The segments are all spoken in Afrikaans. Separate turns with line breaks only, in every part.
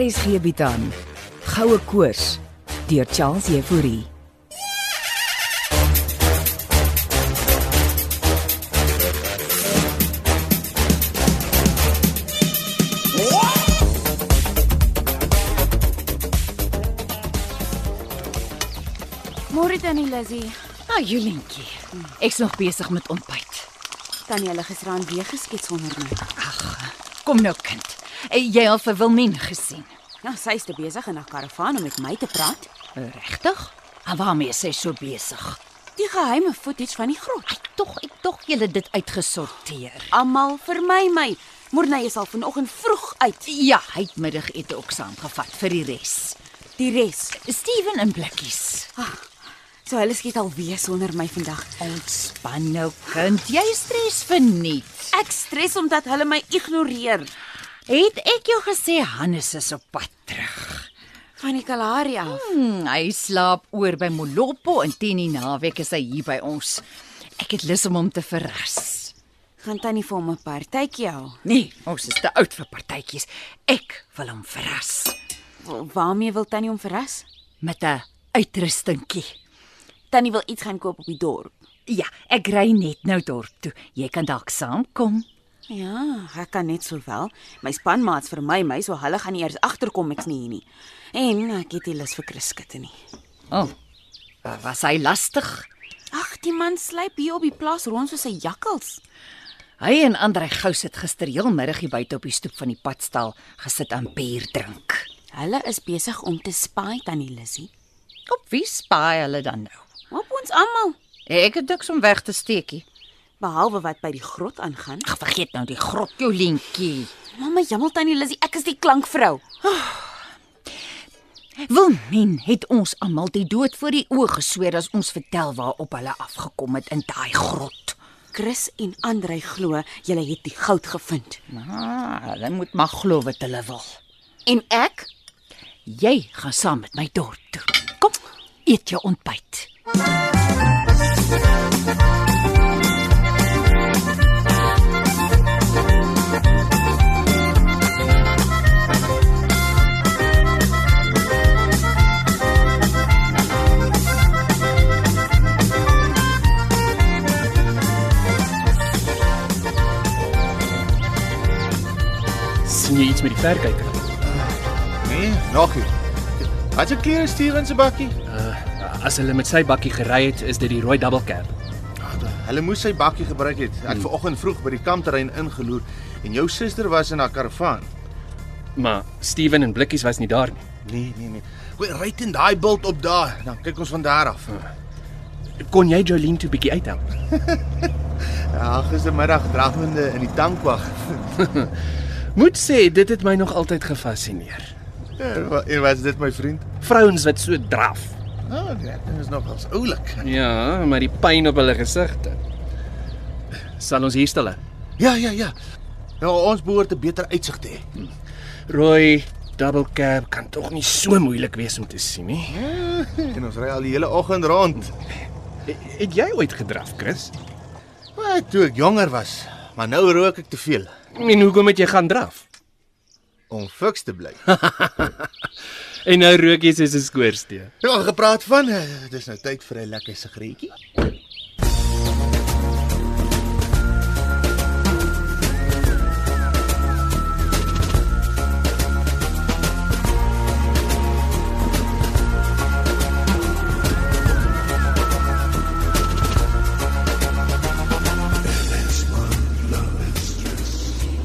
RSG bied aan Goue Koors deur Charles Euphorie.
Môre tannie Lizzy,
Ah, Julientjie. Ek's nog besig met ontbyt.
tannie hulle gisteraan weer geskiet sonder my.
Ag, kom nou kind. Eh, Jy al vir Wilmien gesien.
Nou sy's te besig in haar karavaan om met my te praat.
Eh, Regtig? En waarmee is sy so besig?
Die geheime footage van die grot.
Ek tog, ek tog julle dit uitgesorteer.
Almal vermy my. Morney is al vanoggend vroeg uit.
Ja, hy het middagete ook saamgevat vir die res.
Die res. Ah,
Steven in blikkies.
So hulle skiet al weer sonder my vandag.
Ontspan nou kind, jy stres verniet.
Ek stres omdat hulle my ignoreer.
Het ek jou gesê Hannes is op pad terug?
Van die Kalahari af.
Hmm, hy slaap oor by Molopo en teen die naweek is hy hier by ons. Ek het lus om hom te verras.
Gaan tannie vir hom 'n partytjie hou.
Nee, ons is te oud vir partytjies. Ek wil hom verras
Wa- Waarmee wil tannie hom verras?
met 'n uitrustingkie.
Tannie wil iets gaan koop op die dorp.
Ja, ek ry net nou dorp toe. Jy kan dalk saamkom.
Ja, ek kan net sowel. My spanmaats vermy my, so hulle gaan nie eers agterkom ek's nie hier nie. En ek het nie lus vir kruskutte nie.
O. Oh, was hy lastig?
Ag, die man slyp hier op die plaas rond soos 'n jakkals.
Hy en Andrei Gous het gister heelmiddag hier buite op die stoep van die padstal gesit aan bier drink.
Hulle is besig om te spy tannie Lissy.
Op wie spaai hulle dan nou?
Op ons almal,
Ek het niks om weg te steekie.
behalwe wat by die grot aangaan.
Ag, vergeet nou die grot jou lentjie.
Mamma, jammel tannie Lissy, ek is die klankvrou.
Wilmien het ons almal die dood voor die oë gesweer as ons vertel waarop hulle afgekom het in daai grot.
Chris en Andrei glo julle het die goud gevind.
Ah, hulle moet maar glo wat hulle wil.
En ek?
Jy gaan saam met my dorp toe. Kom, eet jou ontbyt.
sien jy iets met die verkyker?
Nee, nog nie. Wat jou klere Steven se bakkie?
Uh, as hulle met sy bakkie gery het, is dit die rooi dubbelkap.
Ah, Hulle moes sy bakkie gebruik het. Ek vanoggend vroeg by die kampterrein ingeloer en jou suster was in haar karavaan.
Maar Steven en Blikkies was nie daar nie.
Nee, nee, nee. Hoe ry dit in daai bult op daar? Dan kyk ons van daar af.
Kon jy Jolene toe bietjie uithelp?
Ja, gistermiddag dragende in die tankwag.
Moet sê dit het my nog altyd gefassineer.
Ja. En wa- en was dit my vriend?
Vrouens wat so draf.
Nou, oh, dit is nogals oulik.
Ja, maar die pyn op hulle gesigte. Sal ons hier stil.
Ja, ja, ja. Nou ons behoort 'n beter uitsig te hê.
Rooi dubbelkap kan tog nie so moeilik wees om te sien nie.
En ons ry al die hele oggend rond.
Het- Het jy ooit gedraf, Chris?
Maar toe ek jonger was, maar nou rook ek te veel
En hoekom het jy gaan draf?
om fiks te bly.
En nou rook jy soos 'n skoorsteen.
Ja, gepraat van, eh, dis nou tyd vir 'n lekker sigaretjie.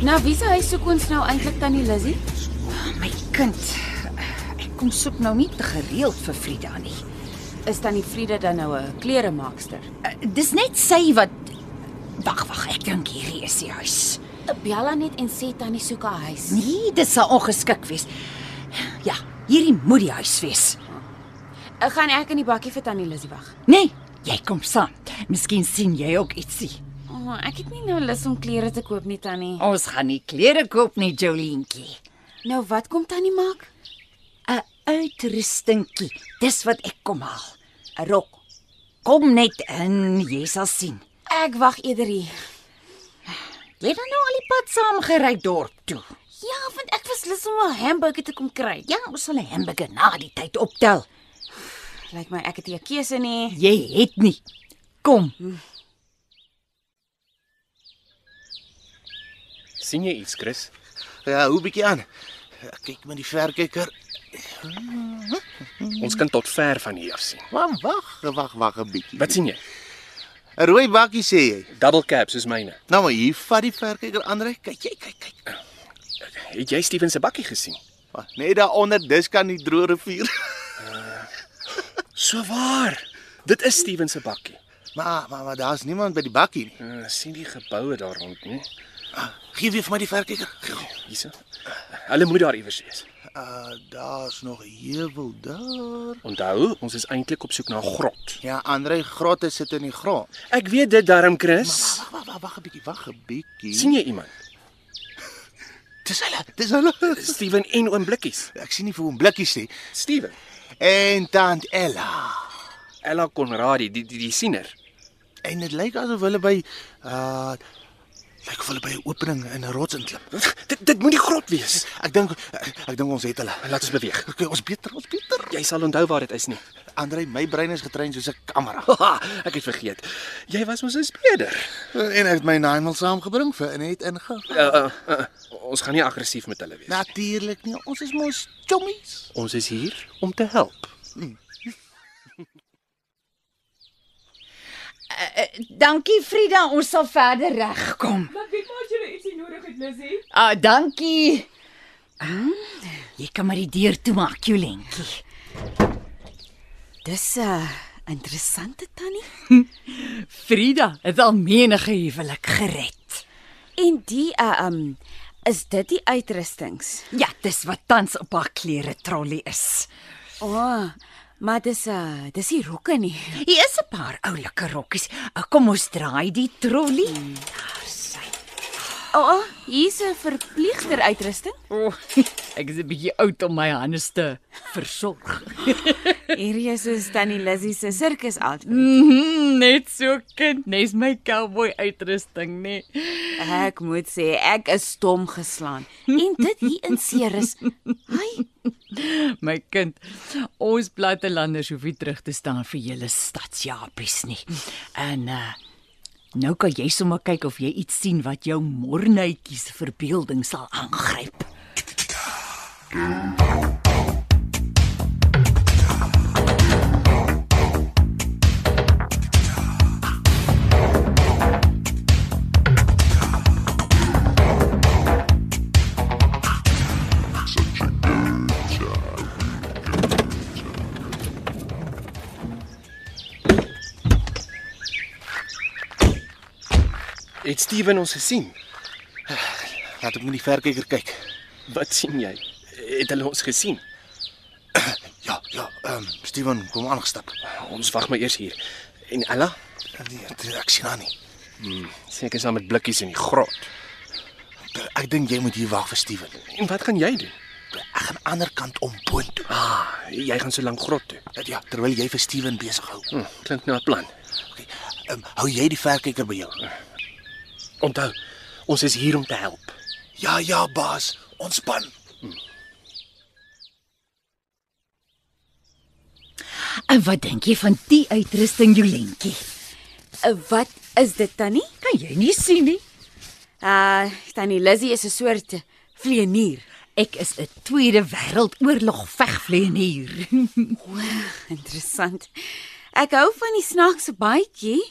Na Nou, wie se huis soek ons nou eintlik tannie Lissy?
My kind, ek kom soek nou nie te gereeld vir Frida nie.
Is tannie Frieda dan nou 'n kleremaakster?
Eh, Dis net sy wat Wag, wag, ek dink hierdie is die huis.
Bella net en sê tannie soek 'n huis.
Nee, dit sal ongeskik wees. Ja, hierdie moet die huis wees.
Ek gaan ek in die bakkie vir tannie Lissy wag.
Nee, jy kom saam. Miskien sien jy ook ietsie.
O, oh, ek het nie nou lus om klere te koop nie, tannie.
Ons gaan nie klere koop nee, nie, Jolientjie.
Nou wat kom tannie maak?
'n Uitrustingkie. Dis wat ek kom haal.
'n Rok.
Kom net in, jy sal sien.
Ek wag eerder hier.
Jy het nou al die pad saam gery dorp toe.
Ja, want ek was beslis om 'n hamburger te kom kry.
Ja, ons sal 'n hamburger na die tyd optel.
Lyk my ek het nie 'n keuse nie.
Jy het nie. Kom.
sien jy iets, Chris?
Ja, hoe bietjie aan. Ek kyk met die verkyker.
Ons kan tot ver van hier af sien.
Maar wag, Ja, wag, wag 'n bietjie.
Wat sien jy?
'n Rooi bakkie sê jy.
Double cab soos myne.
Nou maar hier vat die verkyker Andre. Kyk, kyk, kyk, kyk.
Het jy Steven se bakkie gesien?
Ah, Net daaronder, dis kan die droë rivier.
So waar. Dit is Steven se bakkie.
Maar maar, maar daar's niemand by die bakkie nie.
Uh, sien die geboue daar rond nee. nie?
Gee weer vir my die verkyker.
Hierse. Hulle moet daar iewers wees.
Uh, daar's nog heuwel daar.
Onthou, ons is eintlik op soek na 'n grot.
Ja, Andre, grotte sit in die grond.
Ek weet dit daarom, Chris.
Wag, wag, wag, wag 'n bietjie, wag 'n bietjie.
sien jy iemand?
Dis hulle, dis hulle.
Steven en oom Blikkies.
Ek sien nie vir hom blikkies nie.
Steven,
En tant Ella.
Ella Conradie, die die, die siener.
En dit lyk asof hulle by uh lyk of hulle by 'n opening in 'n rots inklim.
Dit dit moet die grot wees.
Ek dink eh, ek dink ons het hulle.
Laat ons beweeg.
Okay, ons beter, ons beter.
Jy sal onthou waar dit is nie.
Andre, my brein is getrein soos 'n kamera.
Haha, ek het vergeet. Jy was ons 'n speerder.
Eh, En ek het my naaimal saamgebring vir net ingehou.
Uh, uh, uh, ons gaan nie aggressief met hulle wees.
Natuurlik nie. Ons is mos chommies.
Ons is hier om te help.
Dankie Frida, ons sal verder regkom.
Maar weet maar as jy nou ietsie nodig het, Lizzie.
Ah, dankie. Hmm? Jy kan maar die deur toemaak, Jolentjie.
Dis 'n uh, interessante tannie.
Frida het al menige huwelik gered.
En die uh um is dit die uitrustings?
Ja, dis wat tans op haar klere trollie is.
O, oh, maar dis uh dis nie rokke nie.
Hier is 'n paar oulike rokkies. Ah, Kom ons draai die trollie.
O, oh, oh, hier's 'n verpleegster uitrusting.
O, oh, ek is 'n bietjie oud om my hande te versorg.
Hierdie is soos tannie Lizzie se sirkus outfit.
Mm, net so kind, nes my cowboy uitrusting, nee. nê.
Ek moet sê ek is stom geslaan. En dit hier in Ceres. Hy
My kind, ons plattelanders hoef nie terug te staan vir julle stadsjapies nie. En uh nou kan jy sommer kyk of jy iets sien wat jou mornetjies verbeelding sal aangryp.
Het Steven ons gesien?
Laat ek met die verkyker kyk.
Wat sien jy? Het hulle ons gesien?
Ja, ja. Ehm um, Steven kom aangestap.
Ons wag maar eers hier. En Ella,
Nee, ek sien haar nie.
seker saam met blikkies in die grot.
Ek dink jy moet hier wag vir Steven.
En wat gaan jy doen?
Ek gaan ander kant om boontoe.
Ah, jy gaan so lank grot toe.
Ja, terwyl jy vir Steven besig hou.
Hm, klink na 'n plan.
Okay. Ehm um, hou jy die verkyker by jou?
Onthou, ons is hier om te help.
Ja, ja, baas. Ontspan.
En wat dink jy van die uitrusting, Jolentjie?
eh, wat is dit tannie?
Kan jy nie sien nie?
Uh tannie Lizzie is 'n soort vleenier.
Ek is 'n Tweede Wêreldoorlog vegvleienier.
Interessant. Ek hou van die snaakse baadjie.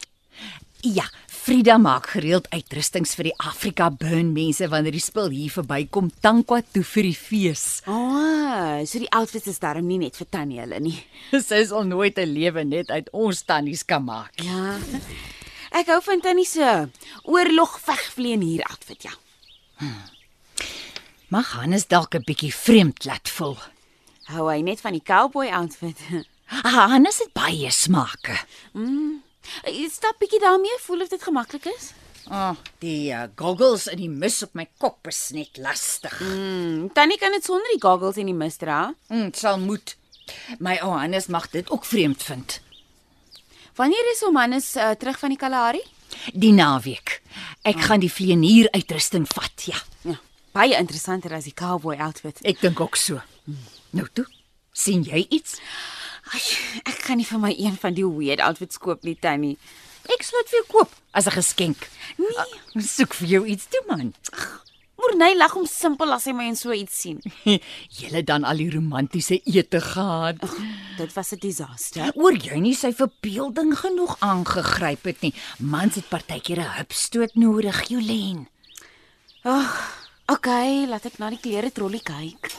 ja, Frida maak gereeld uitrustings vir die Afrika Burn mense wanneer die spul hier verbykom Tankwa toe vir die fees.
O, oh, so die outfits is darm nie net vir tannie hulle nie.
Sy sal nooit 'n lewe net uit ons tannies kan maak.
Ja. Ek hou van tannie se oorlogvegvleenier outfit, ja.
Mag Hannes dalk 'n bietjie vreemd laat voel.
Hou hy net van die cowboy outfit.
Hannes het baie smake.
Stap bietjie daarmee, voel of dit gemaklik is.
Ag, oh, die uh, goggles en die mis op my kop is net lastig. Mm,
Mm, tannie kan dit sonder die goggles en die mis dra.
mm sal moet. My ou Hannes mag dit ook vreemd vind.
Wanneer is hom Hannes uh, terug van die Kalahari?
Ah. Die naweek. Ek oh. gaan die vleenier uitrusting vat, ja.
Ja. baie interessanter as die cowboy outfit.
Ek dink ook so. Nou toe, sien jy iets?
Ai, ek gaan nie vir my een van die weird outfits koop nie, Tannie.
Ek sal dit vir jou koop as 'n geskenk.
Nee,
Ons soek vir jou iets toe man.
Morney lag hom simpel as hy my en so iets sien.
Julle dan al die romantiese ete gehad.
Dit was 'n disaster.
Oor jy nie sy verbeelding genoeg aangegryp het nie. Mans het partykeer 'n hupstoot nodig, Jolien.
Ag, okay, laat ek na die klere trollie kyk.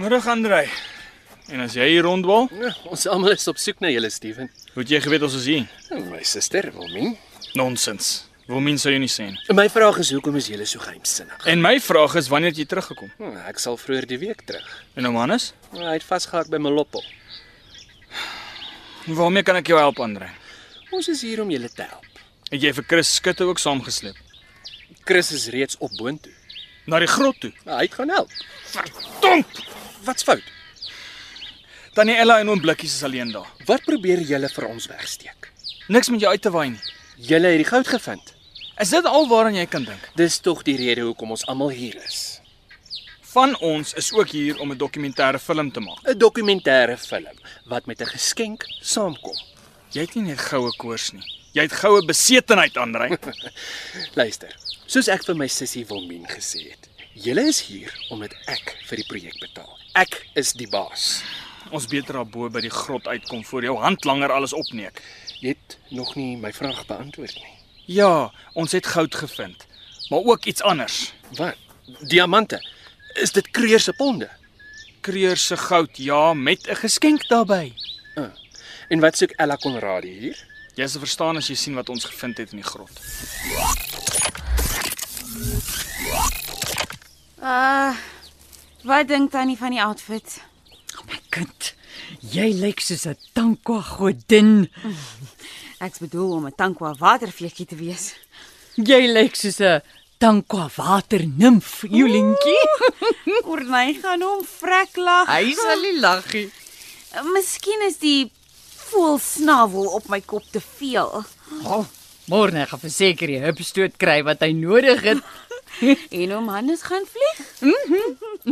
Môre gaan ry. En as jy hier rondwal,
Ja, ons almal is op soek na julle, Steven.
moet jy geweet ons is hier.
En Nou, my suster, Wilmien.
Nonsens. Wil mens sou jy nie sê nie.
My vraag is hoekom is julle so geheimsinnig?
En my vraag is wanneer het jy teruggekom?
Hm, ek sal vroeër die week terug.
En nou Hannes,
Hy het vasgehak by Molopo.
waarmee kan ek jou help aanry?
Ons is hier om julle te help.
Het jy vir Chris skutte ook saamgesleep
Chris is reeds op boontoe. Nou,
na die grot toe?
Hy het gaan help.
Verdomp!
Wat's fout?
Tannie Ella en oom Blikkies is alleen daar.
Wat probeer julle vir ons wegsteek?
Niks met jou uit te waai nie.
Julle het die goud gevind.
Is dit al waaraan jy kan dink?
Dis tog die rede hoekom ons almal hier is.
Van ons is ook hier om 'n dokumentêre film te maak.
'n Dokumentêre film wat met 'n geskenk saamkom.
Jy het nie net goue koors nie. Jy het goue besetenheid aanry.
Luister. Soos ek vir my sussie Wilmien gesê het, julle is hier omdat ek vir die projek betaal. Ek is die baas.
Ons beter daar bo by die grot uitkom voor jou hand langer alles opneek.
Jy het nog nie my vraag beantwoord nie.
Ja, ons het goud gevind, maar ook iets anders.
Wat? Diamante. Is dit Kreur se ponde?
Kreur se goud, ja, met 'n geskenk daarbey.
En wat soek Ella Conradie hier?
Jy sal verstaan as jy sien wat ons gevind het in die grot.
Uh, wat dink Tannie van die outfit?
O oh my kind, jy lyk soos 'n tankwa godin.
Ek's bedoel om 'n tankwa watervleetjie te wees.
Jy lyk soos 'n tankwa waternimf, Jolientjie.
Morney gaan hom vrek lag.
sal nie lag nie.
Miskien is die voelsnavel op my kop te veel.
Oh, môre gaan verseker die hupstoot kry wat hy nodig het.
En oom Hannes gaan vlieg.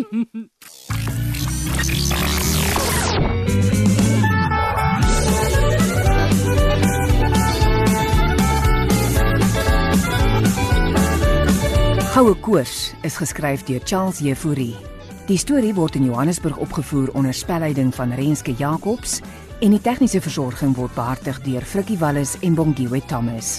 Goue Koors is geskryf deur Charles Jefouri. Die storie word in Johannesburg opgevoer onder spelleiding van Renske Jacobs en die tegniese versorging word behartig deur Frikkie Wallis en Bongwe Thomas.